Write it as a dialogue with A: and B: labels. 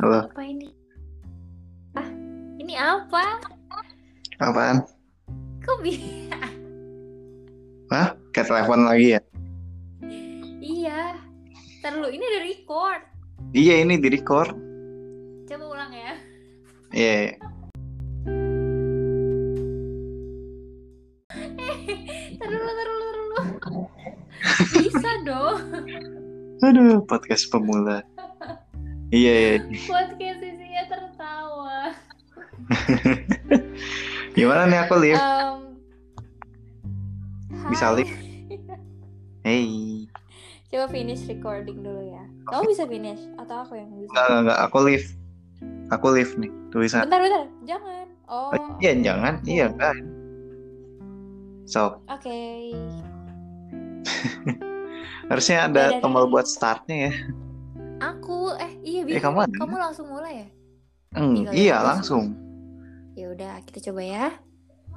A: Halo,
B: Apa ini? Ah, ini apa?
A: apaan?
B: Kok bi-
A: Hah? Ke telepon lagi ya?
B: Iya. Ntar dulu, ini udah record.
A: Iya, ini di record.
B: Coba ulang ya.
A: Iya.
B: Ntar dulu, ntar dulu, ntar dulu. Bisa dong.
A: Aduh, podcast pemula. Iya, iya.
B: Podcast isinya tertawa.
A: Gimana nih aku, Liv?
B: Um, hai.
A: Iya. Bisa live? Hey.
B: Coba finish recording dulu ya. Kamu bisa finish atau aku yang
A: Enggak,
B: bisa?
A: enggak, enggak. Aku Liv. Aku Liv nih, tulisan.
B: Bentar, bentar. Jangan. Oh.
A: Oh, iya, jangan. Iya, kan. So,
B: Oke.
A: harusnya
B: Iya,
A: ada
B: iya,
A: tombol
B: iya.
A: buat startnya ya.
B: Aku eh iya
A: Eh,
B: bisa.
A: kamu ada.
B: kamu langsung mulai ya?
A: Hmm,
B: Tinggal
A: iya,
B: lihat.
A: langsung.
B: Ya udah, kita coba ya.